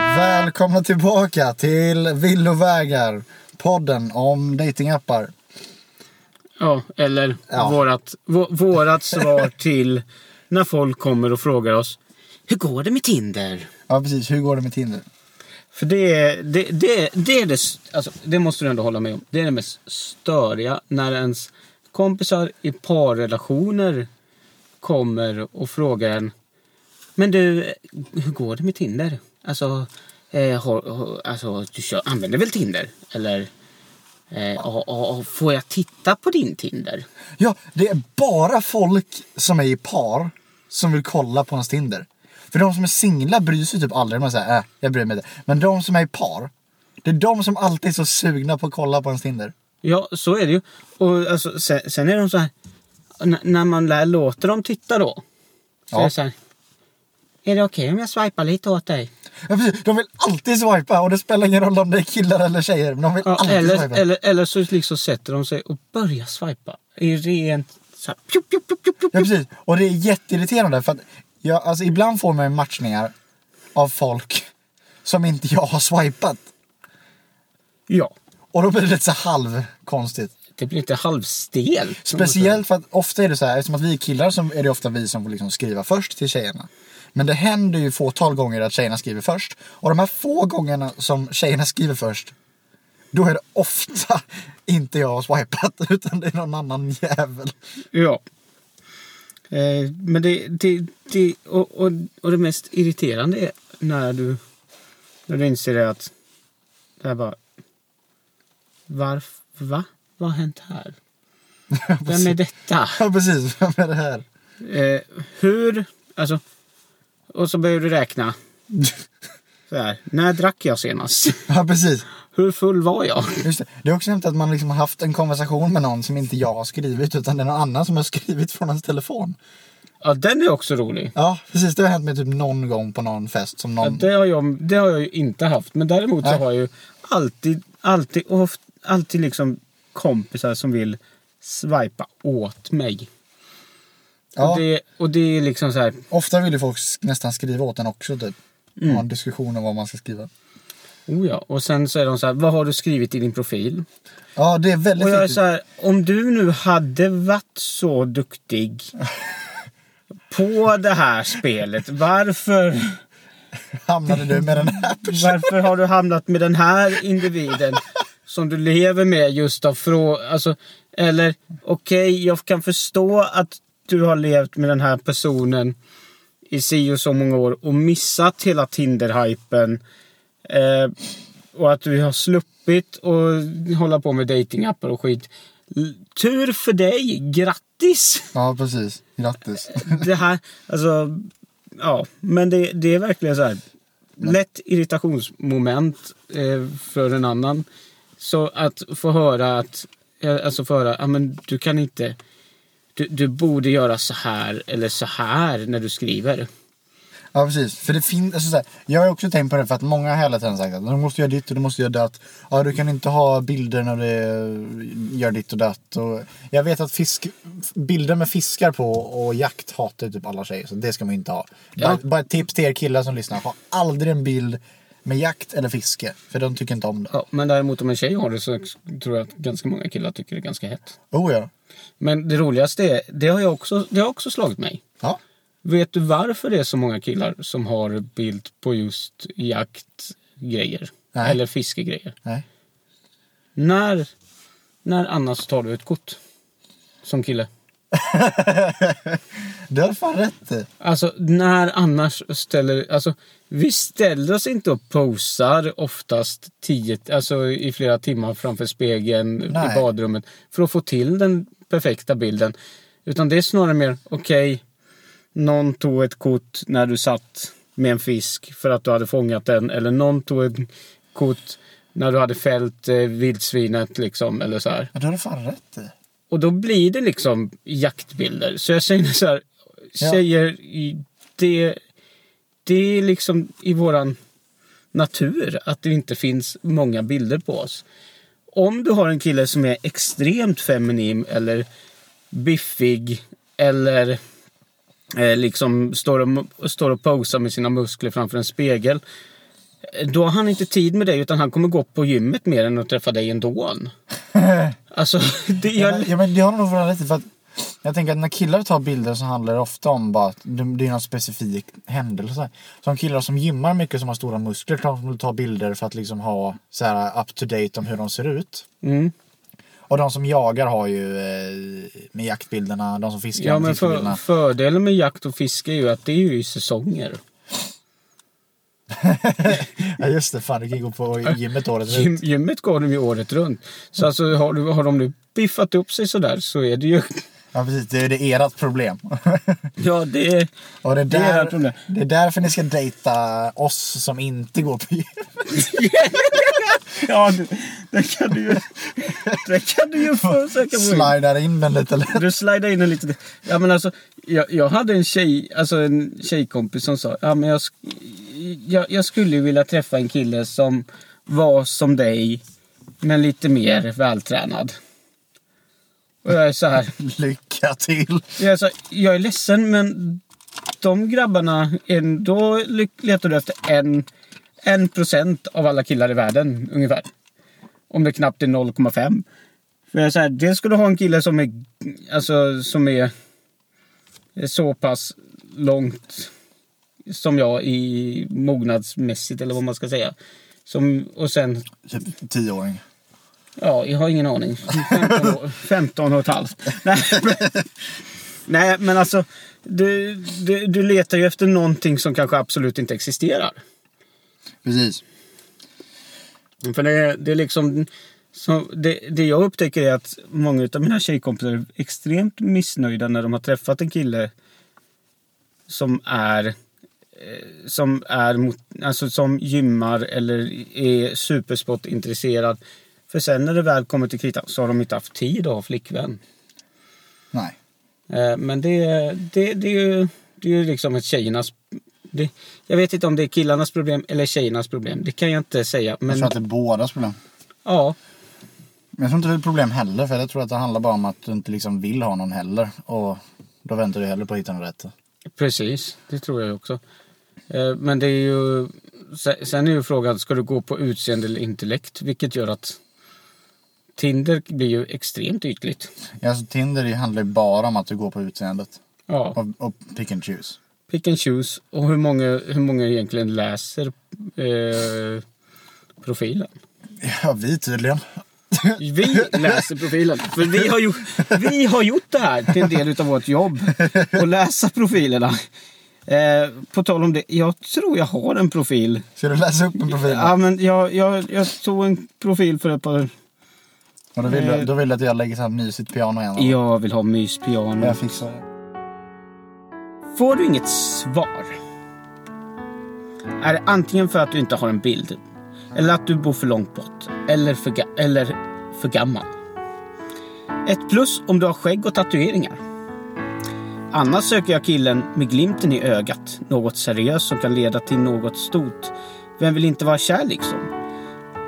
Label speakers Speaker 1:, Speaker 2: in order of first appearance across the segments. Speaker 1: Välkomna tillbaka till Villovägar. Podden om datingappar.
Speaker 2: Ja, eller
Speaker 1: Ja.
Speaker 2: Vårat, vå, vårat svar till när folk kommer och frågar oss Hur går det med Tinder?
Speaker 1: Ja, precis. Hur går det med Tinder?
Speaker 2: För det är det, det, det, är det, s- alltså, det måste du ändå hålla med om. Det är det mest störiga när ens kompisar i parrelationer kommer och frågar en Men du, hur går det med Tinder? Alltså, eh, har, har, alltså du kör, använder väl Tinder? Eller eh, ja, ja, ja, får jag titta på din Tinder?
Speaker 1: Ja, det är bara folk som är i par som vill kolla på hans Tinder. För de som är singlar bryr sig typ aldrig. Man säger, äh, jag bryr mig inte. Men de som är i par, det är de som alltid är så sugna på att kolla på hans Tinder.
Speaker 2: Ja, så är det ju. Och alltså, sen, sen är de så här... N- när man lär, låter dem titta då. Så
Speaker 1: Ja.
Speaker 2: är det så här... Är det okej om jag swipar lite åt dig?
Speaker 1: Ja, precis. De vill alltid swipa och det spelar ingen roll om det är killar eller tjejer. Men de vill
Speaker 2: Ja,
Speaker 1: alltid
Speaker 2: eller,
Speaker 1: swipa.
Speaker 2: eller, eller så liksom sätter de sig och börjar swipa. I ren... Så här, pjup, pjup, pjup, pjup, pjup.
Speaker 1: Ja precis, och det är jätteirriterande för att jag, alltså, ibland får man ju matchningar av folk som inte jag har swipat.
Speaker 2: ja.
Speaker 1: Och då blir det lite så halvkonstigt.
Speaker 2: Det blir lite halvstelt.
Speaker 1: Speciellt för att ofta är det så här, eftersom att vi är killar så är det ofta vi som får liksom skriva först till tjejerna. Men det händer ju fåtal gånger att tjejerna skriver först. Och de här få gångerna som tjejerna skriver först, då är det ofta inte jag har swipat utan det är någon annan jävel.
Speaker 2: Ja. Eh, men det, det, det och, och, och det mest irriterande är när du, när du inser det att det här bara... Varför? Va? Vad har hänt här? Vem är detta?
Speaker 1: Ja precis, vem är det här?
Speaker 2: Eh, hur? Alltså... Och så börjar du räkna. Så här. När drack jag senast?
Speaker 1: Ja precis.
Speaker 2: Hur full var jag?
Speaker 1: Just det. det är också nämnt att man liksom har haft en konversation med någon som inte jag har skrivit utan det är någon annan som har skrivit från hans telefon.
Speaker 2: Ja, den är också rolig.
Speaker 1: Ja, precis. Det har hänt mig typ någon gång på någon fest som
Speaker 2: Ja,
Speaker 1: någon...
Speaker 2: det, har jag, det har jag ju inte haft. Men däremot så
Speaker 1: Nej.
Speaker 2: har jag ju alltid, alltid, och haft- alltid liksom kompisar som vill swipa åt mig.
Speaker 1: ja,
Speaker 2: Och, det, och det är liksom så här.
Speaker 1: Ofta vill ju folk sk- nästan skriva åt en också typ. Mm. Ha en diskussion om vad man ska skriva.
Speaker 2: Oh ja. Och sen så är de så här. Vad har du skrivit i din profil?
Speaker 1: Ja, det är väldigt
Speaker 2: Och jag är
Speaker 1: viktigt.
Speaker 2: så här. Om du nu hade varit så duktig på det här spelet. Varför,
Speaker 1: Hamnade du med den här personen?
Speaker 2: varför har du hamnat med den här individen? Som du lever med just av frå... Alltså, eller okej, jag kan förstå att du har levt med den här personen i si och så många år och missat hela Tinder-hypen. Eh, och att du har sluppit och hålla på med datingappar och skit. L- Tur för dig! Grattis!
Speaker 1: Ja, precis. Grattis.
Speaker 2: det här, alltså, ja, men det, det är verkligen så här. Lätt irritationsmoment eh, för en annan. Så att få höra att, eh, alltså få höra, ja men du kan inte, du, du borde göra så här eller så här när du skriver.
Speaker 1: Ja precis, för det finns, alltså, så här, jag har ju också tänkt på det för att många har hela tiden sagt att du måste göra ditt och du måste göra datt. Ja du kan inte ha bilder när du gör ditt och datt. Och jag vet att fisk, bilder med fiskar på och jakt hatar ju typ alla tjejer så det ska man ju inte ha.
Speaker 2: Ja.
Speaker 1: Bara, bara ett tips till er killar som lyssnar, ha aldrig en bild med jakt eller fiske för de tycker inte om det.
Speaker 2: Ja, men däremot om en tjej har det så tror jag att ganska många killar tycker det är ganska hett.
Speaker 1: Oh ja.
Speaker 2: Men det roligaste är, det har jag också, det har också slagit mig.
Speaker 1: Ja,
Speaker 2: Vet du varför det är så många killar som har bild på just jaktgrejer?
Speaker 1: Nej.
Speaker 2: Eller fiskegrejer?
Speaker 1: nej.
Speaker 2: När, när annars tar du ett kort? Som kille.
Speaker 1: Det har du fan rätt i.
Speaker 2: Alltså när annars ställer... Alltså vi ställer oss inte och posar oftast tio, alltså, i flera timmar framför spegeln
Speaker 1: Nej.
Speaker 2: i badrummet för att få till den perfekta bilden. Utan det är snarare mer, okej, någon tog ett kort när du satt med en fisk för att du hade fångat den. Eller någon tog ett kort när du hade fällt eh, vildsvinet liksom, eller så här.
Speaker 1: Ja, Det har du fan rätt i.
Speaker 2: Och då blir det liksom jaktbilder. Så jag säger så här, säger i- det, det är liksom i våran natur att det inte finns många bilder på oss. Om du har en kille som är extremt feminin eller biffig eller eh, liksom står och, står och posar med sina muskler framför en spegel. Då har han inte tid med dig utan han kommer gå på gymmet mer än att träffa dig ändå. Alltså, det,
Speaker 1: Ja,
Speaker 2: jag,
Speaker 1: men, ja, men det har nog varit lite för att jag tänker att när killar tar bilder så handlar det ofta om bara att det, det är någon specifik händelse. Som killar som gymmar mycket som har stora muskler, klart de vill ta bilder för att liksom ha så här up to date om hur de ser ut.
Speaker 2: mm.
Speaker 1: Och de som jagar har ju eh, med jaktbilderna, de som fiskar
Speaker 2: ja,
Speaker 1: med
Speaker 2: men för,
Speaker 1: fiskebilderna.
Speaker 2: fördelen med jakt och fiske är ju att det är ju i säsonger.
Speaker 1: Ja just det, fan du kan ju gå på gymmet året
Speaker 2: Gym,
Speaker 1: runt.
Speaker 2: gymmet går de ju året runt. Så alltså, har, du, har de nu biffat upp sig sådär så är det ju...
Speaker 1: Ja precis, det är det ert problem.
Speaker 2: Ja, det är...
Speaker 1: Och det, är
Speaker 2: Det är ert problem.
Speaker 1: där, det är därför ni ska dejta oss som inte går på gym.
Speaker 2: Ja, det, det kan du ju... Det kan du ju försöka få in.
Speaker 1: Slidar in den lite lätt.
Speaker 2: Du slidar in en liten... Ja, men alltså, jag, jag hade en, tjej, alltså en tjejkompis som sa ja, men jag, sk- jag, jag skulle ju vilja träffa en kille som var som dig, men lite mer vältränad. Och jag är så här...
Speaker 1: Lycka till!
Speaker 2: Jag är, så, alltså, jag är ledsen men de grabbarna, en- då ly- letar du efter en, en procent av alla killar i världen ungefär. Om det knappt är 0,5. För jag är så här, dels ska du ha en kille som är, alltså, som är är så pass långt som jag i mognadsmässigt eller vad man ska säga. Som, och sen
Speaker 1: Typ tioåring.
Speaker 2: Ja, jag har ingen aning. 15, år, 15 och ett halvt. Nej, men, nej, men alltså. Du, du, du letar ju efter någonting som kanske absolut inte existerar.
Speaker 1: Precis.
Speaker 2: För det, det är liksom... Så det, det jag upptäcker är att många av mina tjejkompisar är extremt missnöjda när de har träffat en kille som är eh, som är mot, alltså som gymmar eller är supersportintresserad. För sen när det väl kommer till kritan så har de inte haft tid att ha flickvän.
Speaker 1: Nej.
Speaker 2: Eh, Men det, det, det, är ju, det är ju liksom ett tjejernas... Det, jag vet inte om det är killarnas problem eller tjejernas problem. Det kan jag inte säga.
Speaker 1: Jag
Speaker 2: Men
Speaker 1: tror att det är bådas problem.
Speaker 2: ja,
Speaker 1: Men jag tror inte det är ett problem heller. För jag tror att det handlar bara om att du inte liksom vill ha någon heller. Och då väntar du heller på att hitta någon rätt.
Speaker 2: precis. Det tror jag också. Eh, Men det är ju... se- Sen är ju frågan, ska du gå på utseende eller intellekt? Vilket gör att Tinder blir ju extremt ytligt.
Speaker 1: Ja, Alltså, Tinder det handlar ju bara om att du går på utseendet.
Speaker 2: Ja,
Speaker 1: Och, och pick and choose.
Speaker 2: pick and choose. Och hur många, hur många egentligen läser eh, profilen?
Speaker 1: Ja, vi tydligen.
Speaker 2: Vi läser profilen. För vi har, ju, vi har gjort det här till en del av vårt jobb. Att läsa profilerna. Eh, på tal om det, jag tror jag har en profil.
Speaker 1: Ska du läsa upp en profil?
Speaker 2: Ja, men jag, jag, jag tog en profil för ett par...
Speaker 1: Och då, vill du, då vill du att jag lägger så här mysigt piano igen? eller?
Speaker 2: Jag vill ha myspiano.
Speaker 1: Jag fixar det.
Speaker 2: Får du inget svar är det antingen för att du inte har en bild, eller att du bor för långt bort, eller för, ga- eller för gammal. Ett plus om du har skägg och tatueringar. Annars söker jag killen med glimten i ögat, något seriöst som kan leda till något stort. Vem vill inte vara kär liksom?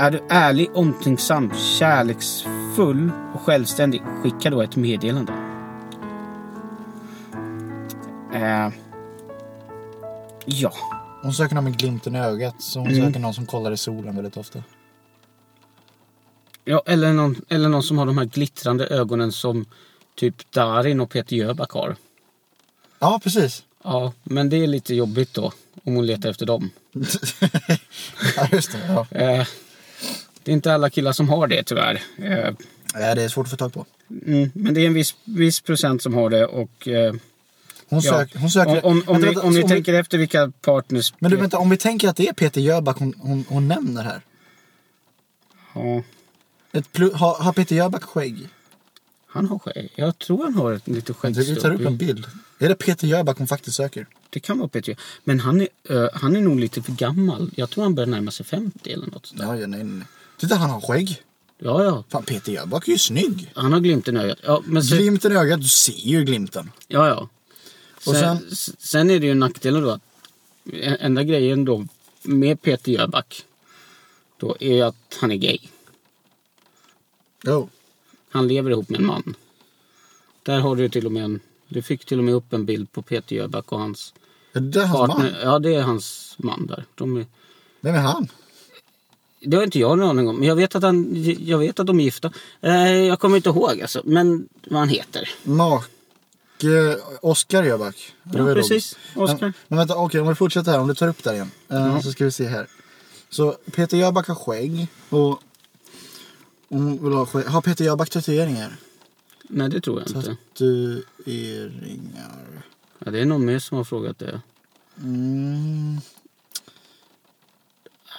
Speaker 2: Är du ärlig, omtänksam, kärleksfull och självständig, skicka då ett meddelande. Eh, ja.
Speaker 1: Hon söker någon med glimten i ögat. Så hon söker någon som kollar i solen väldigt ofta.
Speaker 2: Ja, eller någon, eller någon som har de här glittrande ögonen som typ Darin och Peter Jöback har.
Speaker 1: Ja, precis.
Speaker 2: Ja, men det är lite jobbigt då om hon letar efter dem.
Speaker 1: ja, just det. Ja.
Speaker 2: Eh, det är inte alla killar som har det tyvärr. Eh,
Speaker 1: Ja, det är svårt att få tag på.
Speaker 2: mm, men det är en viss, viss procent som har det och... Eh,
Speaker 1: Hon,
Speaker 2: ja.
Speaker 1: sök, hon söker...
Speaker 2: Om, om, om,
Speaker 1: Vänta,
Speaker 2: ni,
Speaker 1: vänta,
Speaker 2: om ni
Speaker 1: vi-
Speaker 2: tänker efter vilka partners...
Speaker 1: Men du, vänta, om vi tänker att det är Peter Jöback hon, hon, hon nämner här.
Speaker 2: Ja,
Speaker 1: Ett plu, har, har Peter Jöback skägg?
Speaker 2: han har skägg. Jag tror han har ett litet
Speaker 1: Du, du tar upp en
Speaker 2: skäggstubb.
Speaker 1: bild. Är det Peter Jöback hon faktiskt söker?
Speaker 2: Det kan vara Peter Jöback. Men han är, eh, han är nog lite för gammal. Jag tror han börjar närma sig 50 eller något sånt där.
Speaker 1: Ja, ja, nej, nej, nej. Titta, han har skägg.
Speaker 2: Ja, ja.
Speaker 1: Fan, Peter Jöback är ju snygg.
Speaker 2: Han har glimten i ögat. Ja, men så,
Speaker 1: Glimten i ögat, du ser ju glimten.
Speaker 2: Ja, ja.
Speaker 1: Och
Speaker 2: Sen, s- sen är det ju nackdelen då att en- enda grejen då med Peter Jöback då är ju att han är gay.
Speaker 1: Jo.
Speaker 2: Han lever ihop med en man. Där har du till och med en, du fick till och med upp en bild på Peter Jöback och hans
Speaker 1: Är det hans man?
Speaker 2: partner. Ja, det är hans man där. De är,
Speaker 1: Vem är han?
Speaker 2: Det har inte jag någon aning om. Men Jag vet att, han, jag vet att de är gifta. Eh, jag kommer inte ihåg alltså, men vad han heter.
Speaker 1: Make... Oscar Jöback. Det
Speaker 2: Ja,
Speaker 1: var ju
Speaker 2: precis.
Speaker 1: Robert.
Speaker 2: Oscar.
Speaker 1: Men, men vänta, okej om vi fortsätter här. Om du tar upp där igen. Eh,
Speaker 2: Mm.
Speaker 1: Så ska vi se här. Så Peter Jöback har skägg. Och... Hon vill ha skägg. Har Peter Jöback tatueringar?
Speaker 2: Nej, det tror jag inte.
Speaker 1: Tatueringar.
Speaker 2: Ja, det är någon mer som har frågat det.
Speaker 1: Mm.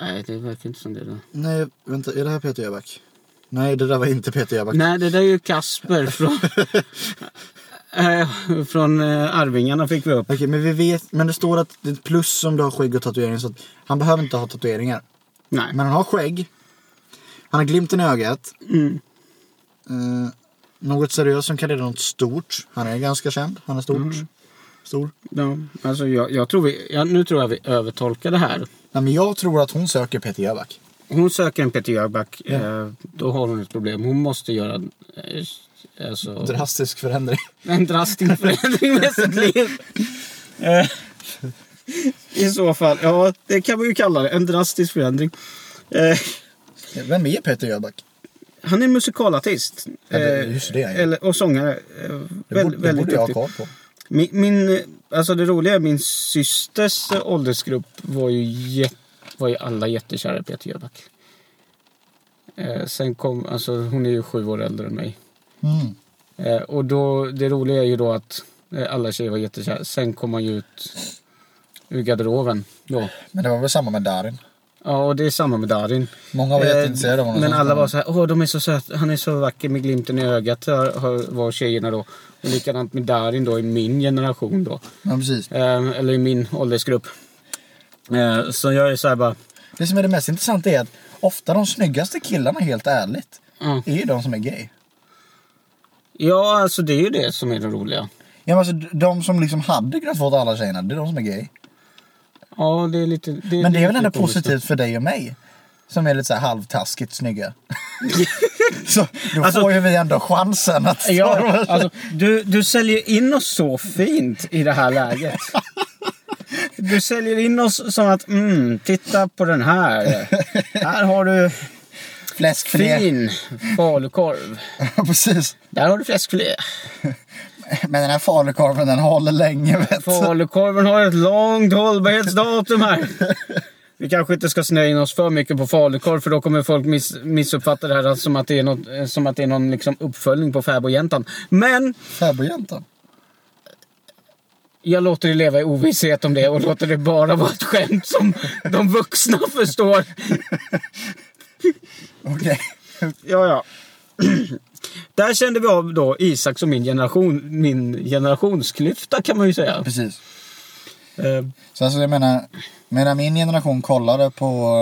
Speaker 2: Nej, det verkar inte som det. Då.
Speaker 1: Nej, vänta. Är det här Peter Jöback? Nej, det där var inte Peter Jöback.
Speaker 2: Nej, det där är ju Kasper från, eh, från eh, Arvingarna fick vi upp.
Speaker 1: Okej, men vi vet. Men det står att det är ett plus om du har skägg och tatueringar. Så att han behöver inte ha tatueringar.
Speaker 2: Nej.
Speaker 1: Men han har skägg. Han har glimten i ögat.
Speaker 2: Mm.
Speaker 1: Eh, något seriöst som kan leda något stort. Han är ganska känd. Han är stort.
Speaker 2: Mm.
Speaker 1: Stor.
Speaker 2: Ja, alltså jag, jag tror vi, ja, nu tror jag vi övertolkar det här.
Speaker 1: Nej, men jag tror att hon söker Peter Jöback.
Speaker 2: Hon söker en Peter Jöback. Eh, då har hon ett problem. Hon måste göra en, eh, alltså,
Speaker 1: Drastisk förändring.
Speaker 2: en drastisk förändring med sitt liv. Eh, I så fall. Ja, det kan man ju kalla det. En drastisk förändring. Eh,
Speaker 1: Vem är Peter Jöback?
Speaker 2: han är musikalartist.
Speaker 1: Ja, det-
Speaker 2: Eh,
Speaker 1: just det, ja.
Speaker 2: eller, och sångare. Eh,
Speaker 1: Det
Speaker 2: väl-
Speaker 1: borde, det
Speaker 2: väldigt
Speaker 1: borde jag ha
Speaker 2: duktig.
Speaker 1: koll på.
Speaker 2: Min, min, alltså det roliga är min systers åldersgrupp var ju, jä- var ju alla jättekära i Peter Jöback. Eh, sen kom, alltså hon är ju sju år äldre än mig.
Speaker 1: Mm.
Speaker 2: Eh, och då, det roliga är ju då att eh, alla tjejer var jättekära. Sen kom man ju ut ur garderoben då.
Speaker 1: Men det var väl samma med Darin.
Speaker 2: Ja, och det är samma med Darin.
Speaker 1: Många var
Speaker 2: Eh,
Speaker 1: jätteintresserade av honom.
Speaker 2: Men alla var så här, åh de är så söta, han är så vacker med glimten i ögat, har- har- var tjejerna då. Och likadant med Darin då i min generation då.
Speaker 1: Ja, precis.
Speaker 2: Eh, eller i min åldersgrupp. Eh, så jag är så här bara...
Speaker 1: Det som är det mest intressanta är att ofta de snyggaste killarna, helt ärligt,
Speaker 2: Ja.
Speaker 1: är ju de som är gay.
Speaker 2: Ja, alltså det är ju det som är det roliga.
Speaker 1: Ja, men alltså, de som liksom hade kunnat fått alla tjejerna, det är de som är gay.
Speaker 2: Ja, det är lite...
Speaker 1: Men det är väl
Speaker 2: lite
Speaker 1: ändå
Speaker 2: komiskt.
Speaker 1: positivt för dig och mig? Som är lite så här halvtaskigt snygga. så då
Speaker 2: Alltså-
Speaker 1: får ju vi ändå chansen att...
Speaker 2: Ja, alltså, du, du säljer in oss så fint i det här läget. Du säljer in oss som att, mm, titta på den här. Här har du
Speaker 1: Fläskfilé.
Speaker 2: fin falukorv.
Speaker 1: Ja, Precis.
Speaker 2: Där har du fläskfilé.
Speaker 1: Men den här falukorven den håller länge vet du.
Speaker 2: Falukorven har ett långt hållbarhetsdatum här. Vi kanske inte ska snöa in oss för mycket på falukorv för då kommer folk miss, missuppfatta det här som att det är, något, eh, som att det är någon liksom uppföljning på Fäbodjäntan. Men
Speaker 1: Fäbodjäntan.
Speaker 2: jag låter det leva i ovisshet om det och låter det bara vara ett skämt som de vuxna förstår.
Speaker 1: Okej.
Speaker 2: Ja, ja. Där kände vi av då Isaks och min generation, min generationsklyfta kan man ju säga.
Speaker 1: Precis.
Speaker 2: Eh,
Speaker 1: Så alltså jag menar, medan min generation kollade på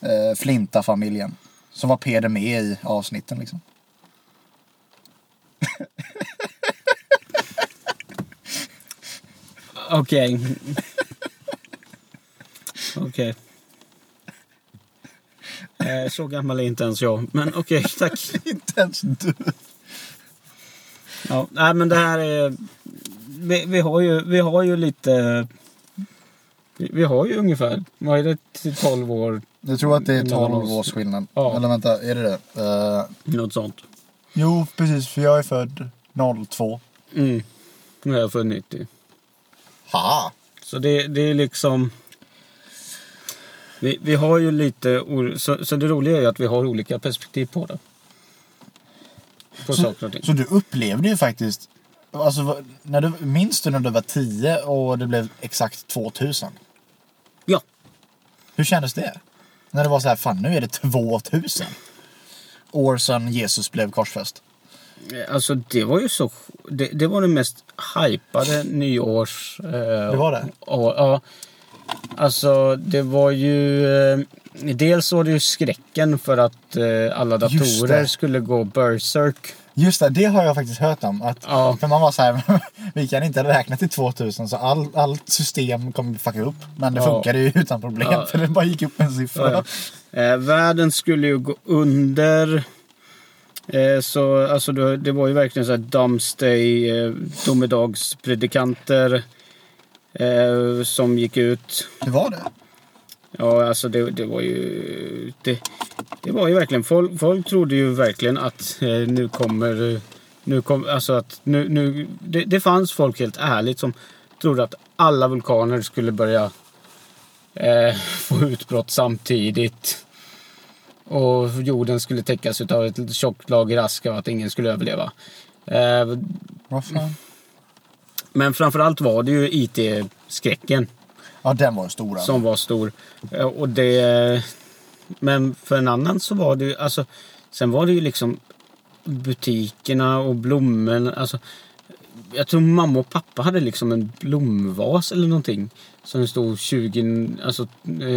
Speaker 1: eh, Flinta-familjen så var Peder med i avsnitten liksom.
Speaker 2: Okej. Okej. Eh, Så gammal är inte ens jag. Men okej, tack.
Speaker 1: Inte ens du.
Speaker 2: Ja, nej, men det här är... Vi, vi, har, ju, vi har ju lite... Vi, vi har ju ungefär... Vad är det? till 12 år?
Speaker 1: Jag tror att det är
Speaker 2: Mellan
Speaker 1: 12
Speaker 2: oss.
Speaker 1: års skillnad.
Speaker 2: Ja.
Speaker 1: Eller vänta, är det det? Eh,
Speaker 2: Något sånt.
Speaker 1: Jo, precis. För jag är född 02.
Speaker 2: Mm. Nu är jag för 90.
Speaker 1: Ha!
Speaker 2: Så det, det är liksom... Vi, vi har ju lite... or- Så, så det roliga är ju att vi har olika perspektiv på det. På saker och ting.
Speaker 1: Så du upplevde ju faktiskt... Alltså, vad- när du, minns du när du var 10 och det blev exakt 2000?
Speaker 2: Ja.
Speaker 1: Hur kändes det? När det var så här, fan nu är det 2000. År sedan Jesus blev korsfäst.
Speaker 2: Alltså det var ju så... Det, det var den mest hypade nyårs... Eh, det
Speaker 1: var det?
Speaker 2: Ja. ja. Alltså det var ju... Eh, dels var det ju skräcken för att eh, alla
Speaker 1: Just
Speaker 2: datorer
Speaker 1: det.
Speaker 2: skulle gå berserk.
Speaker 1: Just det, det har jag faktiskt hört om. Att,
Speaker 2: Ja.
Speaker 1: För man var så här, vi kan inte räkna till 2000 så all, allt system kommer fucka upp. Men det
Speaker 2: Ja.
Speaker 1: funkade ju utan problem
Speaker 2: Ja.
Speaker 1: för det bara gick upp en siffra.
Speaker 2: Ja, ja. Eh, världen skulle ju gå under. Eh, så alltså, det, det var ju verkligen så här Domsday, eh, domedagspredikanter eh, som gick ut.
Speaker 1: Det var det.
Speaker 2: Ja, alltså det, det var ju... Det, det var ju verkligen... Folk, folk trodde ju verkligen att eh, nu kommer... eh, Nu kom, alltså att nu, nu, det, det fanns folk helt ärligt som trodde att alla vulkaner skulle börja eh, få utbrott samtidigt. Och jorden skulle täckas av ett tjockt lager aska och att ingen skulle överleva. Eh,
Speaker 1: Vad fan?
Speaker 2: men framförallt var det ju IT-skräcken
Speaker 1: Ja, den var stor. alltså.
Speaker 2: som var stor. Eh, Och det... Men för en annan så var det ju, alltså, sen var det ju liksom butikerna och blommorna. Alltså, jag tror mamma och pappa hade liksom en blomvas eller någonting. Som det stod 20, alltså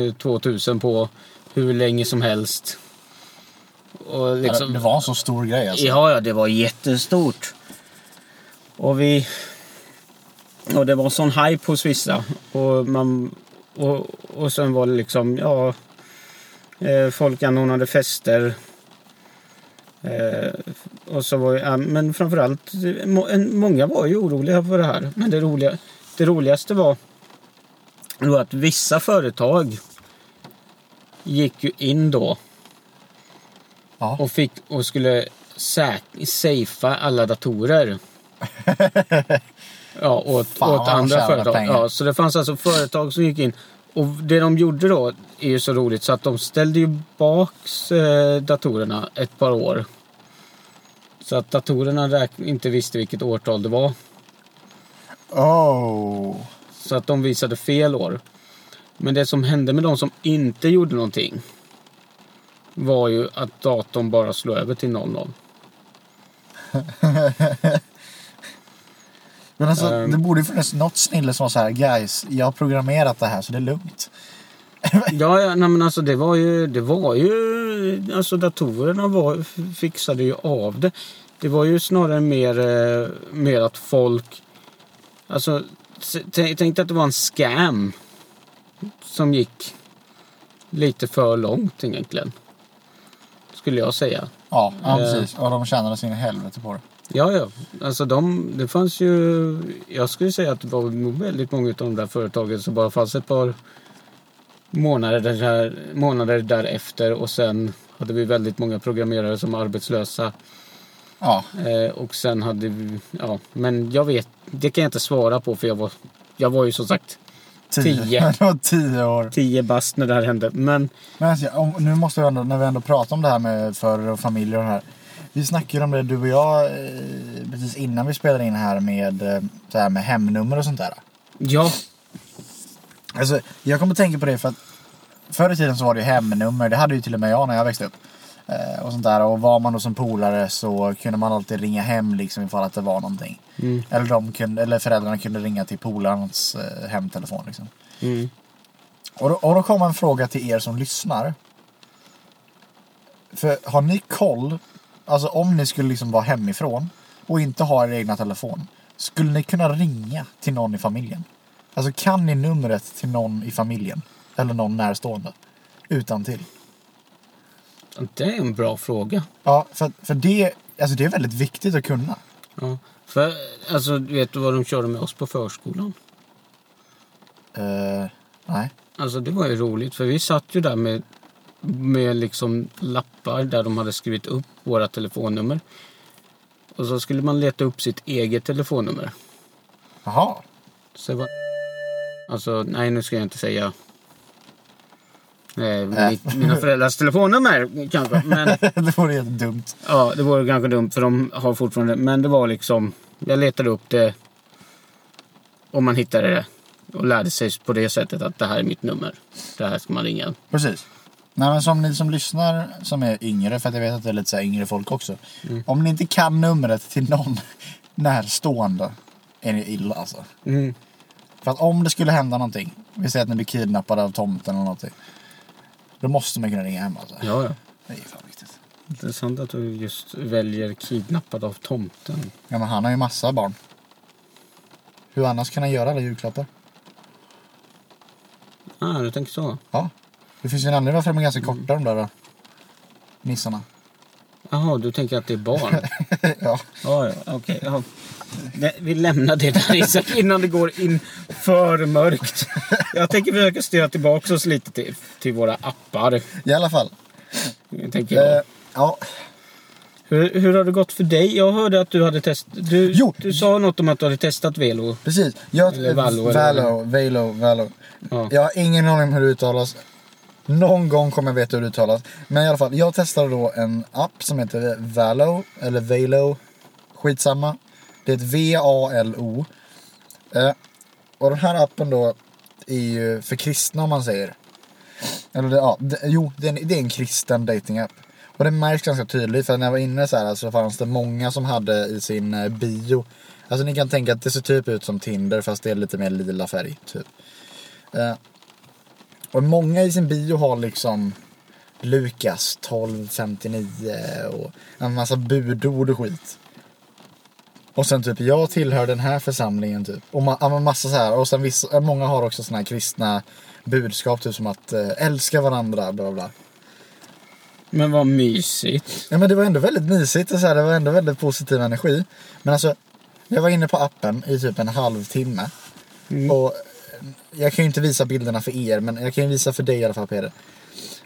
Speaker 2: eh, 2000 på hur länge som helst. Och
Speaker 1: Ja,
Speaker 2: liksom,
Speaker 1: Det var en så stor grej alltså.
Speaker 2: Ja, ja, det var jättestort. Och vi... Och det var sån hype hos vissa. Och, man, och, och sen var det liksom, ja... eh, Folk anordnade fester. Eh, och så var ju, ja, men framförallt, må- en- många var ju oroliga för det här. Men det, roliga, det roligaste var, var att vissa företag gick ju in då
Speaker 1: Ja.
Speaker 2: och, fick, och skulle säk- safea alla datorer. ja, åt,
Speaker 1: Fan, vad
Speaker 2: åt
Speaker 1: de
Speaker 2: andra
Speaker 1: tjänar
Speaker 2: företag.
Speaker 1: pengar.
Speaker 2: Ja, så det fanns alltså företag som gick in. Och det de gjorde då är ju så roligt så att de ställde ju baks eh, datorerna ett par år. Så att datorerna räk- inte visste vilket årtal det var.
Speaker 1: Oh.
Speaker 2: Så att de visade fel år. Men det som hände med de som inte gjorde någonting var ju att datorn bara slog över till 00.
Speaker 1: Men alltså,
Speaker 2: Ehm.
Speaker 1: det borde ju funnits något snille som var så här, guys, jag har programmerat det här så det är lugnt.
Speaker 2: Ja, ja nej, men alltså det var ju... Det var ju alltså datorerna var, f- fixade ju av det. Det var ju snarare mer, eh, mer att folk... Alltså, s- tänk, tänk dig att det var en scam som gick lite för långt egentligen. Skulle jag säga.
Speaker 1: Ja, ja
Speaker 2: Eh.
Speaker 1: precis. Och de tjänade sin helvete på det.
Speaker 2: Ja, ja. Alltså de, det fanns ju... Jag skulle säga att det var nog väldigt många av de där företagen som bara fanns ett par månader, där, månader därefter och sen hade vi väldigt många programmerare som var arbetslösa.
Speaker 1: Ja,
Speaker 2: Eh, och sen hade vi... Ja, men jag vet... Det kan jag inte svara på för jag var, jag var ju som sagt
Speaker 1: tio.
Speaker 2: Tio.
Speaker 1: det var tio år.
Speaker 2: tio bast när det här hände. Men
Speaker 1: Men alltså, om, nu måste vi ändå, när vi ändå pratar om det här med förr och familjer och det här. Vi snackade ju om det du och jag eh, precis innan vi spelade in här med, eh, så här med hemnummer och sånt där.
Speaker 2: ja,
Speaker 1: Alltså, jag kommer att tänka på det för att förr i tiden så var det ju hemnummer. Det hade ju till och med jag när jag växte upp. Eh, och sånt där. Och var man då som polare så kunde man alltid ringa hem liksom ifall att det var någonting.
Speaker 2: Mm.
Speaker 1: Eller, de kunde, eller föräldrarna kunde ringa till polarens eh, hemtelefon liksom.
Speaker 2: mm,
Speaker 1: Och då, och då kommer en fråga till er som lyssnar. För har ni koll, alltså om ni skulle liksom vara hemifrån och inte ha er egna telefon. Skulle ni kunna ringa till någon i familjen? Alltså kan ni numret till någon i familjen? Eller någon närstående? Utan till.
Speaker 2: det är en bra fråga.
Speaker 1: Ja, för, för det, alltså det är väldigt viktigt att kunna.
Speaker 2: Ja. För, alltså, vet du vad de körde med oss på förskolan?
Speaker 1: Eh, nej.
Speaker 2: Alltså det var ju roligt för vi satt ju där med, med liksom lappar där de hade skrivit upp våra telefonnummer. Och så skulle man leta upp sitt eget telefonnummer.
Speaker 1: Jaha.
Speaker 2: Så det var... Alltså nej nu ska jag inte säga eh,
Speaker 1: Nej.
Speaker 2: mitt, mina föräldrars telefonnummer kanske. Men
Speaker 1: det vore jättedumt.
Speaker 2: ja det vore kanske dumt för de har fortfarande. Men det var liksom. Jag letade upp det. Och man hittade det. Och lärde sig på det sättet att det här är mitt nummer. Det här ska man ringa.
Speaker 1: Precis. Nej men som ni som lyssnar som är yngre, för att jag vet att det är lite så här yngre folk också. Om ni inte kan numret till någon närstående är ni illa alltså.
Speaker 2: Mm.
Speaker 1: För att om det skulle hända någonting, vi säger att ni blir kidnappade av tomten eller någonting. Då måste man kunna ringa hem alltså.
Speaker 2: Ja, ja.
Speaker 1: Det är fan viktigt.
Speaker 2: Intressant att du just väljer kidnappad av tomten.
Speaker 1: Ja men han har ju massa barn. Hur annars kan han göra alla julklappar?
Speaker 2: Ah, du tänker så.
Speaker 1: Ja. Det finns ju en anledning varför de är ganska korta de där då. äh, nissarna.
Speaker 2: Jaha, du tänker att det är barn?
Speaker 1: ja.
Speaker 2: Ja, ja, okej. ja. Nej, Vi lämnar det där Isak innan det går in för mörkt. Jag tänker försöka styra tillbaka oss lite till, till våra appar.
Speaker 1: I alla fall.
Speaker 2: Tänker
Speaker 1: Eh,
Speaker 2: jag.
Speaker 1: ja.
Speaker 2: Hur, hur har det gått för dig? Jag hörde att du hade testat. Du,
Speaker 1: Jo.
Speaker 2: du sa något om att du hade testat Velo.
Speaker 1: Precis. Jag,
Speaker 2: Eller Vallo, eller-
Speaker 1: Valo, Valo, Valo.
Speaker 2: Ja.
Speaker 1: Jag har ingen aning om hur det uttalas. Någon gång kommer jag veta hur det uttalas. Men i alla fall, jag testade då en app som heter Valo, eller Valo. Skitsamma. Det är ett V-A-L-O. Eh, och den här appen då är ju för kristna om man säger. Eller det, ja, det, jo, det är, en, det är en kristen datingapp. Och det märks ganska tydligt för när jag var inne så här alltså, så fanns det många som hade i sin eh, bio. Alltså ni kan tänka att det ser typ ut som Tinder fast det är lite mer lila färg typ. Eh, och många i sin bio har liksom Lukas 1259 och en massa budord och skit. Och sen typ jag tillhör den här församlingen typ. Och ma- ja, men massa så här. Och sen vissa, många har också såna här kristna budskap typ som att eh, älska varandra bla bla, bla.
Speaker 2: Men vad mysigt.
Speaker 1: Ja men det var ändå väldigt mysigt och så här, det var ändå väldigt positiv energi. Men alltså, jag var inne på appen i typ en halvtimme. Och jag kan ju inte visa bilderna för er, men jag kan ju visa för dig i alla fall Peder.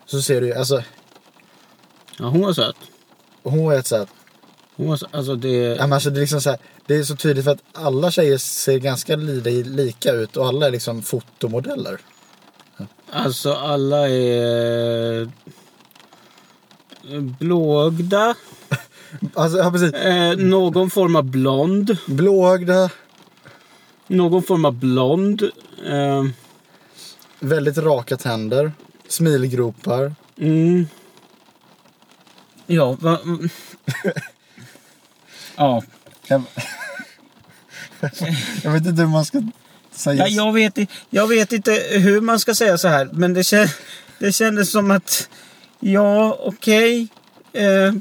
Speaker 1: Så ser du ju, alltså
Speaker 2: Ja, hon var söt.
Speaker 1: hon var ett så här,
Speaker 2: Hon var söt. Alltså det...
Speaker 1: ja, men alltså, det är liksom så här, det är så tydligt för att alla tjejer ser ganska li- lika ut och alla är liksom fotomodeller.
Speaker 2: Alltså alla är... eh, Blåögda.
Speaker 1: Alltså ja precis,
Speaker 2: Eh, någon form av blond.
Speaker 1: blåögda,
Speaker 2: Någon form av blond. Eh,
Speaker 1: väldigt raka tänder, smilgropar.
Speaker 2: mm. Ja, va... mm. ja.
Speaker 1: Jag, jag vet inte hur man ska säga.
Speaker 2: ja jag, vet, i- jag vet inte hur man ska säga så här, men det, kän, det kändes som att... Ja, okej. Eh,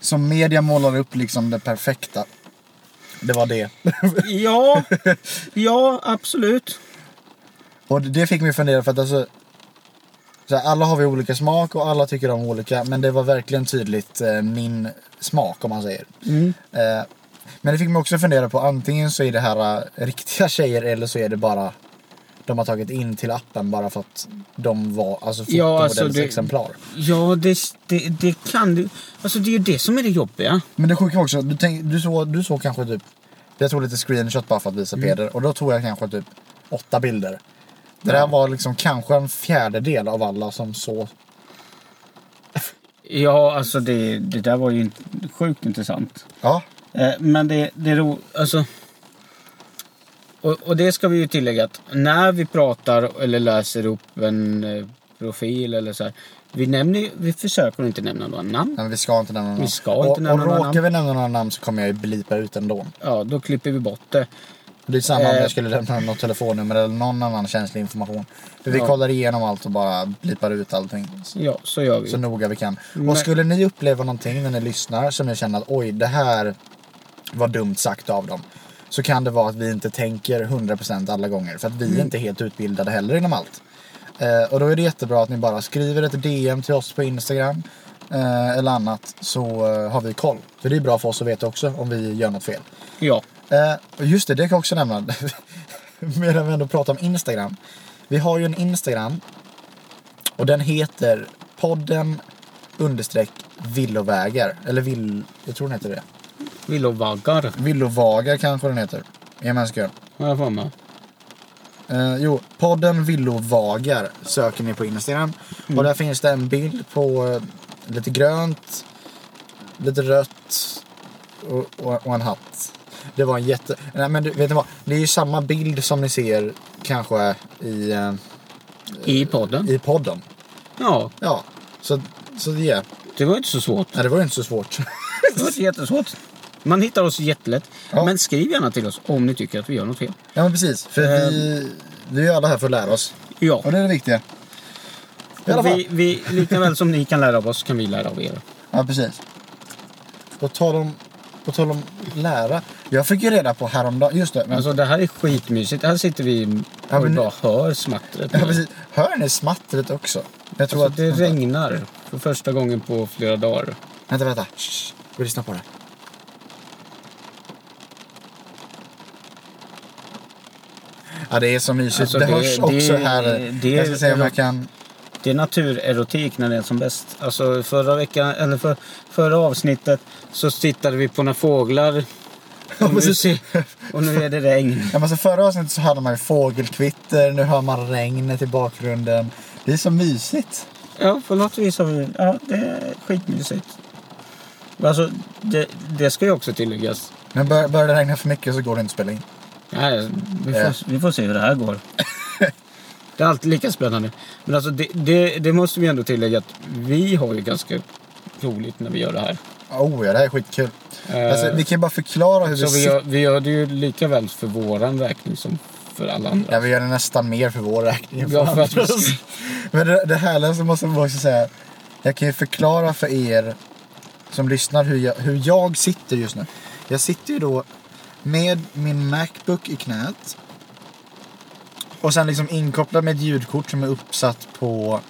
Speaker 1: Som media målar upp liksom det perfekta. Det var det.
Speaker 2: ja, ja, absolut.
Speaker 1: Och det fick mig fundera för att alltså. Så här, alla har vi olika smak och alla tycker om olika. Men det var verkligen tydligt eh, min smak om man säger.
Speaker 2: Mm.
Speaker 1: Eh, men det fick mig också fundera på antingen så är det här eh, riktiga tjejer eller så är det bara de har tagit in till appen bara för att de var alltså
Speaker 2: Ja, alltså,
Speaker 1: fotomodellsexemplar.
Speaker 2: det-
Speaker 1: exemplar.
Speaker 2: Ja, det, det, det kan du. Alltså det är ju det som är det jobbiga.
Speaker 1: Men det sjuka var också, du, tänk, du, såg, du såg kanske typ... Jag tog lite screenshot bara för att
Speaker 2: Mm.
Speaker 1: visa Peder och då tog jag kanske typ åtta bilder. Det där var liksom kanske en fjärdedel av alla som såg.
Speaker 2: Ja, alltså det, det där var ju inte, sjukt intressant.
Speaker 1: Ja,
Speaker 2: Eh, men det, det är ro, alltså... Och, och det ska vi ju tillägga att när vi pratar eller läser upp en eh, profil eller så här. Vi, nämner, ju- vi försöker inte nämna några namn.
Speaker 1: men vi ska inte nämna några
Speaker 2: Vi ska inte
Speaker 1: och,
Speaker 2: nämna
Speaker 1: och
Speaker 2: några
Speaker 1: råkar vi nämna några namn så kommer jag ju blipa ut ändå.
Speaker 2: Ja, då klipper vi bort det.
Speaker 1: Det är samma om
Speaker 2: Eh.
Speaker 1: jag skulle lämna något telefonnummer eller någon annan känslig information. För vi
Speaker 2: Ja.
Speaker 1: kollar igenom allt och bara blipar ut allting.
Speaker 2: Ja, så gör vi.
Speaker 1: Så noga vi kan.
Speaker 2: Men-
Speaker 1: Och skulle ni uppleva någonting när ni lyssnar som ni känner att oj, det här var dumt sagt av dem. Så kan det vara att vi inte tänker 100% alla gånger. För att vi är inte helt utbildade heller inom allt. Eh, och då är det jättebra att ni bara skriver ett DM till oss på Instagram. Eh, eller annat. Så eh, har vi koll. För det är bra för oss att veta också om vi gör något fel.
Speaker 2: Ja.
Speaker 1: Eh, och just det, det kan jag också nämna. Medan vi ändå pratar om Instagram. Vi har ju en Instagram. Och den heter podden understreck villovägar. Eller vill... Jag tror den heter det.
Speaker 2: Villovaggar
Speaker 1: Villovagar kanske den heter. Jag menar ska jag.
Speaker 2: har jag för mig.
Speaker 1: Eh, jo, podden Villovagar söker ni på Instagram.
Speaker 2: Mm.
Speaker 1: Och där finns det en bild på eh, lite grönt, lite rött och, och, och en hatt. Det var en jätte... Nej men du, vet ni vad? Det är ju samma bild som ni ser kanske i, eh,
Speaker 2: I podden.
Speaker 1: i podden.
Speaker 2: Ja,
Speaker 1: Ja, så, så det, yeah.
Speaker 2: det var inte så svårt.
Speaker 1: Nej, det var ju inte så svårt.
Speaker 2: Det var inte jättesvårt. Man hittar oss jättelätt.
Speaker 1: Ja.
Speaker 2: Men skriv gärna till oss om ni tycker att vi gör något fel.
Speaker 1: ja men precis, för
Speaker 2: Eh.
Speaker 1: vi, vi är ju alla här för att lära oss.
Speaker 2: Ja.
Speaker 1: Och det är det viktiga. I alla
Speaker 2: Och
Speaker 1: fall.
Speaker 2: vi, vi, lika väl som ni kan lära av oss kan vi lära av er.
Speaker 1: Ja, precis. På tal om, på tal om lära. Jag fick ju reda på häromdagen, just det. Men,
Speaker 2: Alltså det här är skitmysigt. Här sitter vi
Speaker 1: Ja,
Speaker 2: och
Speaker 1: men nu-
Speaker 2: bara hör smattret.
Speaker 1: ja, precis. Hör ni smattret också? Jag tror
Speaker 2: Alltså, det
Speaker 1: att...
Speaker 2: regnar. För första gången på flera dagar.
Speaker 1: Vänta, vänta. Shh, vi lyssnar på det. Ja, det är så mysigt.
Speaker 2: Alltså,
Speaker 1: det,
Speaker 2: det-
Speaker 1: hörs
Speaker 2: det-
Speaker 1: också här.
Speaker 2: det-
Speaker 1: jag ska se om jag
Speaker 2: det-
Speaker 1: kan...
Speaker 2: Det är naturerotik när det är som bäst. Alltså förra veckan, eller för, förra avsnittet så tittade vi på när fåglar och nu,
Speaker 1: precis.
Speaker 2: se, och nu är det regn.
Speaker 1: Ja, men så förra avsnittet så hörde man ju fågelkvitter, nu hör man regnet i bakgrunden. Det är så mysigt.
Speaker 2: Ja, på något vis har vi... Ja, det är skitmysigt. Alltså, det, det ska ju också tilläggas.
Speaker 1: Men bör, börjar det regna för mycket så går det inte att spela in.
Speaker 2: Nej, vi, får,
Speaker 1: Ja.
Speaker 2: vi får se hur det här går. det är alltid lika spännande. Men alltså, det, det, det måste vi ändå tillägga att vi har ju ganska roligt när vi gör det här.
Speaker 1: Oh ja, det här är skitkul.
Speaker 2: Eh,
Speaker 1: Alltså, vi kan ju bara förklara hur vi,
Speaker 2: Så vi
Speaker 1: sitter.
Speaker 2: gör, vi gör det ju lika väl för våran räkning som för alla andra.
Speaker 1: Ja, vi gör det nästan mer för vår räkning. än
Speaker 2: Ja, för att vi
Speaker 1: andras.
Speaker 2: ska-
Speaker 1: Men det, det härliga som måste man också säga. Jag kan ju förklara för er som lyssnar hur jag, hur jag sitter just nu. Jag sitter ju då med min Macbook i knät. Och sen liksom inkopplad med ett ljudkort som är uppsatt på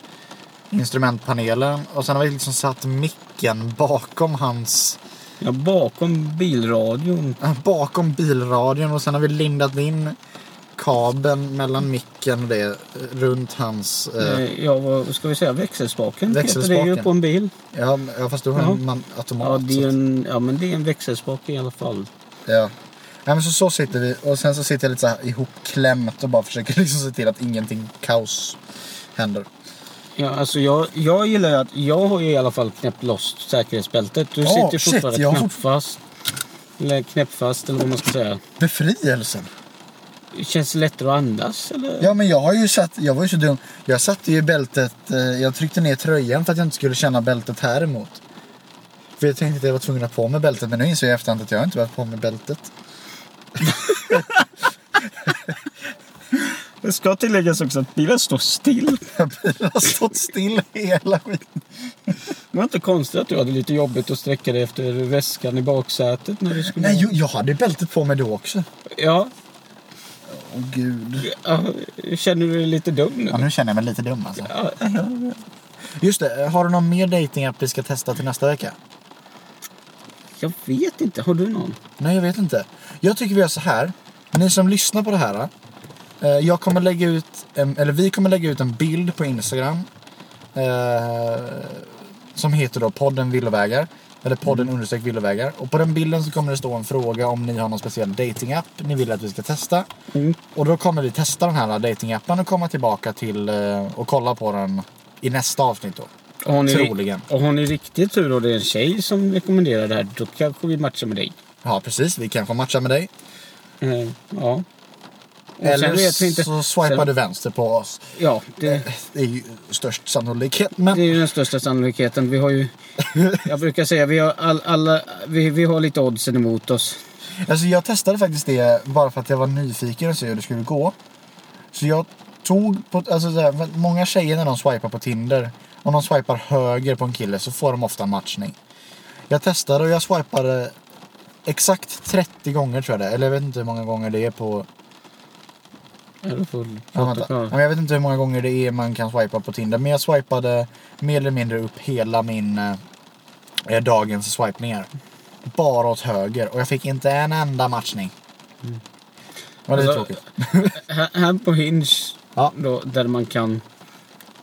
Speaker 1: instrumentpanelen. Och sen har vi liksom satt micken bakom hans
Speaker 2: Ja, bakom bilradion.
Speaker 1: Ah, bakom bilradion och sen har vi lindat in kabeln
Speaker 2: Mm.
Speaker 1: mellan micken och det eh, runt hans... Eh,
Speaker 2: eh, Ja, vad ska vi säga? Växelspaken. Heter det ju
Speaker 1: Växelspaken.
Speaker 2: på en bil.
Speaker 1: ja, men- ja, fast du har
Speaker 2: Ja.
Speaker 1: en man, automat.
Speaker 2: Ja, det
Speaker 1: så
Speaker 2: är
Speaker 1: att-
Speaker 2: en, ja, men det är en växelspak i alla fall.
Speaker 1: ja. Nej, men så, så sitter vi och sen så sitter jag lite så här ihopklämt och bara försöker liksom se till att ingenting kaos händer.
Speaker 2: Ja, alltså jag, jag gillar ju att jag har ju i alla fall knäppt loss säkerhetsbältet. Du
Speaker 1: Ja,
Speaker 2: sitter ju
Speaker 1: shit,
Speaker 2: fortfarande
Speaker 1: jag har fort-
Speaker 2: knäppfast. Eller knäppfast eller vad man ska säga.
Speaker 1: Befrielsen.
Speaker 2: Känns det lättare att andas eller?
Speaker 1: Ja men jag har ju satt, jag var ju så dum. Jag satte ju bältet, eh, jag tryckte ner tröjan för att jag inte skulle känna bältet här emot. För jag tänkte att jag var tvungen att ha på mig bältet men nu inser jag i efterhand att jag inte varit på mig bältet.
Speaker 2: Det ska tilläggas också att bilen står still.
Speaker 1: Bilen har stått still hela skiten.
Speaker 2: Det var inte konstigt att du hade lite jobbigt att sträcka dig efter väskan i baksätet när du skulle...
Speaker 1: Nej, jo, jag hade bältet på mig då också.
Speaker 2: Ja,
Speaker 1: Åh gud.
Speaker 2: ja, känner du dig lite dum nu?
Speaker 1: Ja, nu känner jag mig lite dum alltså.
Speaker 2: Ja, ja.
Speaker 1: Just det, har du någon mer datingapp vi ska testa till nästa vecka?
Speaker 2: Jag vet inte, har du någon?
Speaker 1: Nej, jag vet inte. Jag tycker vi gör så här. Ni som lyssnar på det här. eh, Jag kommer lägga ut, en, eller vi kommer lägga ut en bild på Instagram. Eh, som heter då podden villovägar. Eller podden
Speaker 2: Mm.
Speaker 1: understreck villovägar. Och på den bilden så kommer det stå en fråga om ni har någon speciell datingapp ni vill att vi ska testa.
Speaker 2: Mm.
Speaker 1: Och då kommer vi testa den här datingappen och komma tillbaka till eh, och kolla på den i nästa avsnitt då.
Speaker 2: Och har ni,
Speaker 1: Troligen.
Speaker 2: Och har ni riktigt tur och det är en tjej som rekommenderar det här, då kanske vi matchar med dig.
Speaker 1: Ja precis, vi kanske matchar med dig.
Speaker 2: Eh, ja. Och
Speaker 1: Eller
Speaker 2: sen vet vi inte-
Speaker 1: så swipar
Speaker 2: sen-
Speaker 1: du vänster på oss.
Speaker 2: Ja, det,
Speaker 1: Det är ju störst sannolikhet.
Speaker 2: det
Speaker 1: Men
Speaker 2: är ju den största sannolikheten. Vi har ju... Jag brukar säga vi har, all, alla, vi, vi har lite oddsen emot oss.
Speaker 1: alltså jag testade faktiskt det bara för att jag var nyfiken och se hur det skulle gå. Så jag tog på, alltså så här, för många tjejer när de swipar på Tinder. Om de swipar höger på en kille så får de ofta en matchning. Jag testade och jag swipade exakt 30 gånger tror jag det är. Eller jag vet inte hur många gånger det är på...
Speaker 2: Ja, då får du
Speaker 1: Ja,
Speaker 2: prata
Speaker 1: vänta. Ja,
Speaker 2: klart.
Speaker 1: men Jag vet inte hur många gånger det är man kan swipa på Tinder. Men jag swipade mer eller mindre upp hela min eh, dagens swipningar. Bara åt höger. Och jag fick inte en enda matchning. Det var lite
Speaker 2: Mm. Alltså-
Speaker 1: tråkigt.
Speaker 2: Här, här på Hinge,
Speaker 1: Ja.
Speaker 2: då, där man kan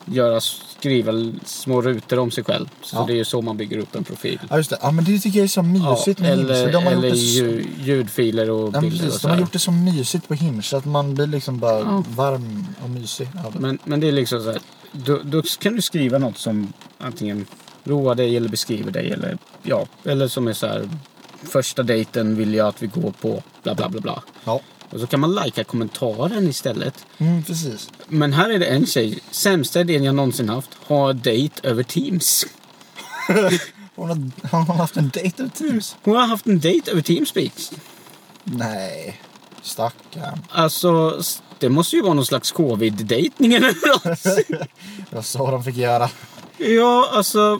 Speaker 2: göra, skriva små rutor om sig själv. Så
Speaker 1: Ja.
Speaker 2: det är ju så man bygger upp en profil.
Speaker 1: Ja just det. Ja men det tycker jag är så mysigt med Hinge.
Speaker 2: eller
Speaker 1: för De har, gjort
Speaker 2: eller
Speaker 1: det, så-
Speaker 2: ju, ljudfiler och
Speaker 1: ja, men
Speaker 2: bilder
Speaker 1: precis,
Speaker 2: och så
Speaker 1: de har
Speaker 2: här.
Speaker 1: gjort det så mysigt på Hinge. så Att man blir liksom bara
Speaker 2: Ja.
Speaker 1: varm och mysig av det.
Speaker 2: men, men det är liksom så här, då, då kan du skriva något som antingen roar dig eller beskriver dig. Eller, ja, eller som är så här, första dejten vill jag att vi går på, bla bla bla bla.
Speaker 1: Ja.
Speaker 2: Och så kan man likea kommentaren istället.
Speaker 1: Mm, precis.
Speaker 2: Men här är det en tjej, sämsta idén jag någonsin haft, ha dejt över Teams.
Speaker 1: Hon har, har hon haft en dejt över Teams?
Speaker 2: Hon har haft en dejt över Teamspeak.
Speaker 1: Nej. Stackarn.
Speaker 2: Alltså, s- det måste ju vara någon slags covid-dejtning eller något.
Speaker 1: Det var så de fick göra.
Speaker 2: ja, alltså...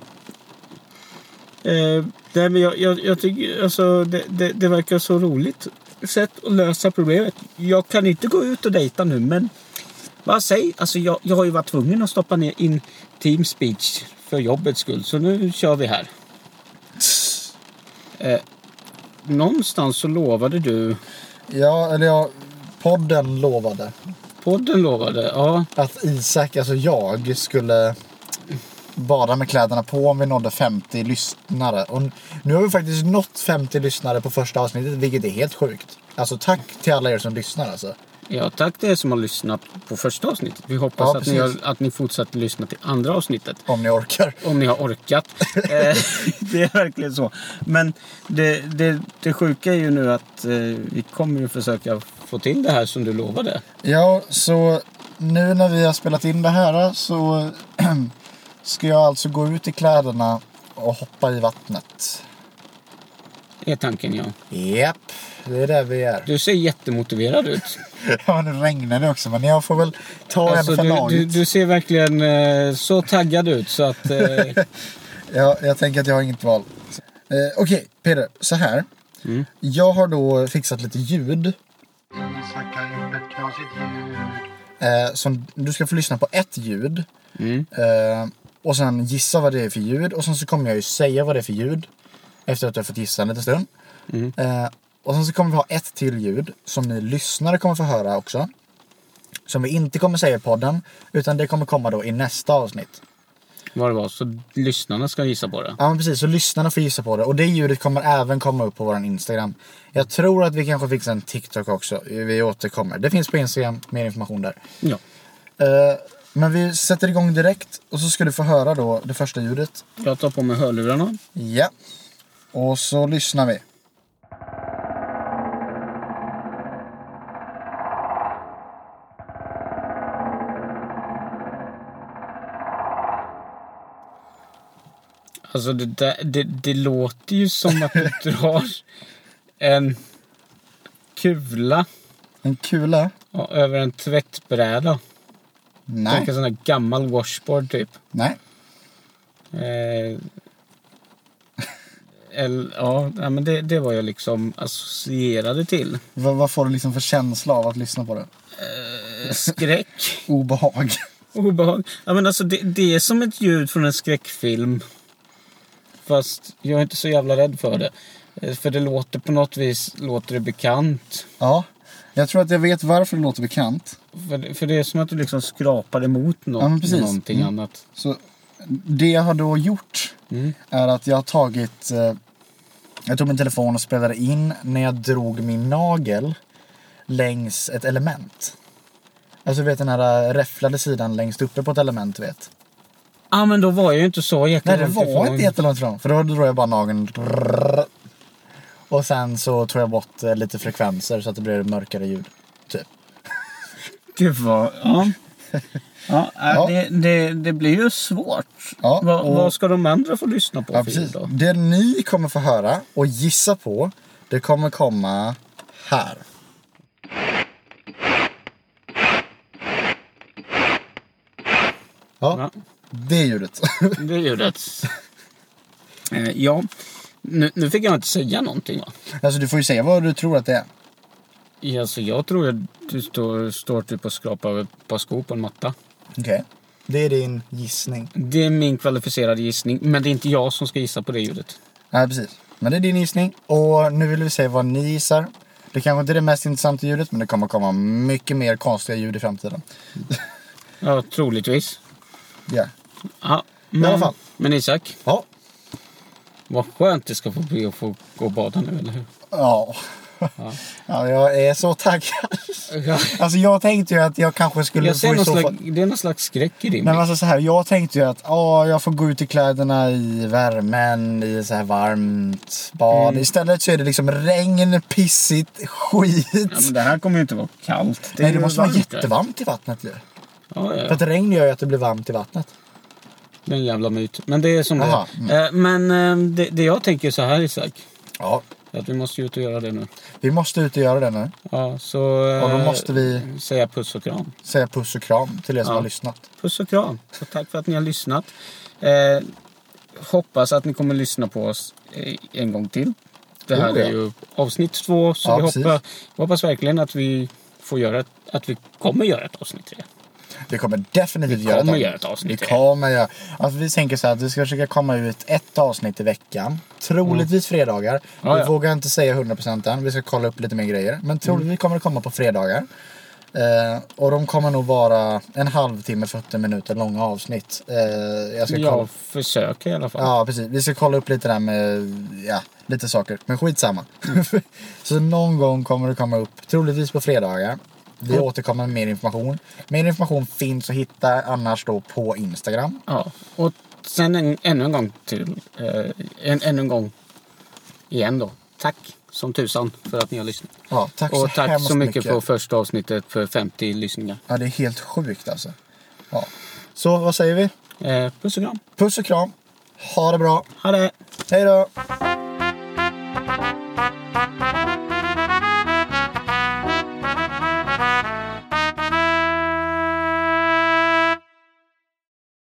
Speaker 2: Eh, nej, men jag, jag, jag tycker alltså, det, det, det verkar så roligt sätt att lösa problemet. Jag kan inte gå ut och dejta nu, men vad säg? Alltså, jag, jag har ju varit tvungen att stoppa ner in Teamspeak för jobbets skull. Så nu kör vi här. Eh, någonstans så lovade du,
Speaker 1: Ja, eller jag... Podden lovade
Speaker 2: podden lovade, ja.
Speaker 1: att Isak, alltså jag, skulle bada med kläderna på om vi nådde 50 lyssnare. Och nu har vi faktiskt nått 50 lyssnare på första avsnittet, vilket är helt sjukt. Alltså tack till alla er som lyssnar alltså.
Speaker 2: Ja, tack till er som har lyssnat på första avsnittet. Vi hoppas
Speaker 1: Ja,
Speaker 2: att, ni har,
Speaker 1: precis.
Speaker 2: att ni fortsätter lyssna till andra avsnittet.
Speaker 1: Om ni orkar.
Speaker 2: Om ni har orkat. Eh, det är verkligen så. Men det, det, det sjuka är ju nu att eh, vi kommer ju försöka få till det här som du lovade.
Speaker 1: Ja, så nu när vi har spelat in det här så ska jag alltså gå ut i kläderna och hoppa i vattnet.
Speaker 2: Det är tanken, ja.
Speaker 1: Japp, det är där vi är.
Speaker 2: Du ser jättemotiverad ut.
Speaker 1: Ja, nu regnar det också, men jag får väl ta
Speaker 2: Alltså,
Speaker 1: en för
Speaker 2: du,
Speaker 1: laget.
Speaker 2: du, du ser verkligen eh, så taggad ut så att... Eh,
Speaker 1: Ja, jag tänker att jag har inget val. Eh, Okej, Peder. Så här.
Speaker 2: Mm.
Speaker 1: Jag har då fixat lite ljud. Eh, som, du ska få lyssna på ett ljud.
Speaker 2: mm.
Speaker 1: Eh, och sen gissa vad det är för ljud. Och sen så kommer jag ju säga vad det är för ljud. Efter att du har fått gissa en liten stund.
Speaker 2: Mm.
Speaker 1: Eh, och sen så kommer vi ha ett till ljud. Som ni lyssnare kommer få höra också. Som vi inte kommer säga i podden. Utan det kommer komma då i nästa avsnitt.
Speaker 2: Vad det var. Så lyssnarna ska gissa på det.
Speaker 1: Ja men precis, så lyssnarna får gissa på det. Och det ljudet kommer även komma upp på vår Instagram. Jag tror att vi kanske fixar en TikTok också. Vi återkommer. Det finns på Instagram, mer information där.
Speaker 2: Ja.
Speaker 1: Eh, men vi sätter igång direkt och så ska du få höra då det första ljudet.
Speaker 2: Jag tar på mig hörlurarna.
Speaker 1: Ja. Och så lyssnar vi.
Speaker 2: Alltså det, där, det, det låter ju som att du drar en kula
Speaker 1: En kula?
Speaker 2: ja, över en tvättbräda.
Speaker 1: Nej.
Speaker 2: Tänk en sån här gammal washboard typ.
Speaker 1: Nej.
Speaker 2: Eh, el, ja, nej, men det, det var jag liksom associerade till.
Speaker 1: Vad, vad får du liksom för känsla av att lyssna på det?
Speaker 2: Eh, Skräck,
Speaker 1: Obehag.
Speaker 2: obehag. Ja, men alltså det, det är som ett ljud från en skräckfilm. Fast jag är inte så jävla rädd för det. Eh, För det låter på något vis låter det bekant.
Speaker 1: ja. Jag tror att jag vet varför det låter bekant.
Speaker 2: För, för det är som att du liksom skrapar emot något,
Speaker 1: Ja, men precis.
Speaker 2: någonting
Speaker 1: Mm.
Speaker 2: annat.
Speaker 1: Så det jag har då gjort
Speaker 2: Mm.
Speaker 1: är att jag har tagit... Eh, jag tog min telefon och spelade in när jag drog min nagel längs ett element. Alltså du vet den här eh, räfflade sidan längst uppe på ett element du vet.
Speaker 2: ah, men då var jag ju inte så jäkla
Speaker 1: Nej det
Speaker 2: långt
Speaker 1: var
Speaker 2: ifrån.
Speaker 1: inte jättelångt ifrån för då drog jag bara nageln. Och sen så tog jag bort eh, lite frekvenser så att det blev mörkare ljud. Typ.
Speaker 2: Gud vad... Ja. Ja, äh,
Speaker 1: Ja.
Speaker 2: Det, det, det blir ju svårt.
Speaker 1: Ja,
Speaker 2: vad,
Speaker 1: och-
Speaker 2: vad ska de andra få lyssna på
Speaker 1: Ja,
Speaker 2: för ljud
Speaker 1: precis.
Speaker 2: då?
Speaker 1: Det ni kommer få höra och gissa på, det kommer komma här. Ja,
Speaker 2: Ja.
Speaker 1: det ljudet.
Speaker 2: Det ljudet. Eh, ja, nu, nu fick jag inte säga någonting va?
Speaker 1: Alltså du får ju säga vad du tror att det är.
Speaker 2: Ja, så jag tror att du står, står typ och skrapar över ett par skor på en matta.
Speaker 1: Okej. Det är din gissning.
Speaker 2: Det är min kvalificerade gissning, men det är inte jag som ska gissa på det ljudet.
Speaker 1: Ja, precis. Men det är din gissning. Och nu vill vi se vad ni gissar. Det kanske inte är det mest intressanta ljudet, men det kommer komma mycket mer konstiga ljud i framtiden.
Speaker 2: Ja, troligtvis.
Speaker 1: Ja.
Speaker 2: Ja,
Speaker 1: alla
Speaker 2: men,
Speaker 1: fall.
Speaker 2: men Isak,
Speaker 1: Ja.
Speaker 2: Vad skönt det ska få bli att få gå och bada nu, eller hur?
Speaker 1: Ja.
Speaker 2: Ja.
Speaker 1: Ja, jag är så taggad. Alltså jag tänkte ju att jag kanske skulle
Speaker 2: Jag ser
Speaker 1: få i
Speaker 2: någon
Speaker 1: så fall...
Speaker 2: slags, det är någon slags skräck i din
Speaker 1: Nej, men
Speaker 2: blick.
Speaker 1: alltså så här, jag tänkte ju att ja, jag får gå ut i kläderna i värmen, i så här varmt bad. Istället så är det liksom regn, pissigt, skit.
Speaker 2: Ja, men det här kommer ju inte vara kallt.
Speaker 1: Nej, det måste vara jättevarmt i vattnet ju.
Speaker 2: Ja, ja,
Speaker 1: För
Speaker 2: ja.
Speaker 1: att regn gör ju att det blir varmt i vattnet.
Speaker 2: Det är en jävla myt. Men det är som det
Speaker 1: Jaha,
Speaker 2: är. Eh, Men eh, det, det jag tänker så här, Isak.
Speaker 1: Ja.
Speaker 2: Att vi måste ju ut och göra det nu.
Speaker 1: Vi måste ut och göra det nu.
Speaker 2: Ja, så... eh,
Speaker 1: Och då måste vi
Speaker 2: Säga puss och kram.
Speaker 1: säga puss och kram till er som
Speaker 2: Ja.
Speaker 1: har lyssnat.
Speaker 2: Puss och kram. Så tack för att ni har lyssnat. Eh, hoppas att ni kommer lyssna på oss eh, en gång till. Det här
Speaker 1: Oh, ja.
Speaker 2: är ju avsnitt två. Så
Speaker 1: Ja,
Speaker 2: vi
Speaker 1: precis.
Speaker 2: hoppas, hoppas verkligen att vi får göra ett, att vi kommer göra ett avsnitt tre.
Speaker 1: Vi kommer definitivt göra
Speaker 2: kommer
Speaker 1: avsnitt.
Speaker 2: göra ett avsnitt
Speaker 1: Vi
Speaker 2: till.
Speaker 1: kommer göra. Alltså, vi tänker så här att vi ska försöka komma ut ett avsnitt i veckan. Troligtvis fredagar.
Speaker 2: Mm. Ja,
Speaker 1: vi
Speaker 2: ja.
Speaker 1: vågar inte säga 100% än. Vi ska kolla upp lite mer grejer. Men
Speaker 2: Mm.
Speaker 1: troligtvis kommer det komma på fredagar. Eh, och de kommer nog vara en halvtimme, 40 minuter långa avsnitt. Eh, jag ska kolla.
Speaker 2: Jag försöker i alla fall.
Speaker 1: Ja, precis. Vi ska kolla upp lite där med, ja, lite saker. Men skitsamma. så någon gång kommer det komma upp, troligtvis på fredagar. Vi
Speaker 2: Mm.
Speaker 1: återkommer med mer information. Mer information finns att hitta annars då på Instagram.
Speaker 2: Ja. Och sen en, ännu en gång till. Eh, en, ännu en gång. Igen då. Tack som tusan för att ni har lyssnat.
Speaker 1: Ja, tack så
Speaker 2: Och tack
Speaker 1: hemskt
Speaker 2: så mycket
Speaker 1: mycket
Speaker 2: för första avsnittet för 50 lyssningar.
Speaker 1: Ja, det är helt sjukt alltså. Ja. Så vad säger vi?
Speaker 2: Eh, puss och kram.
Speaker 1: Puss och kram. Ha det bra.
Speaker 2: Ha det!
Speaker 1: Hej då!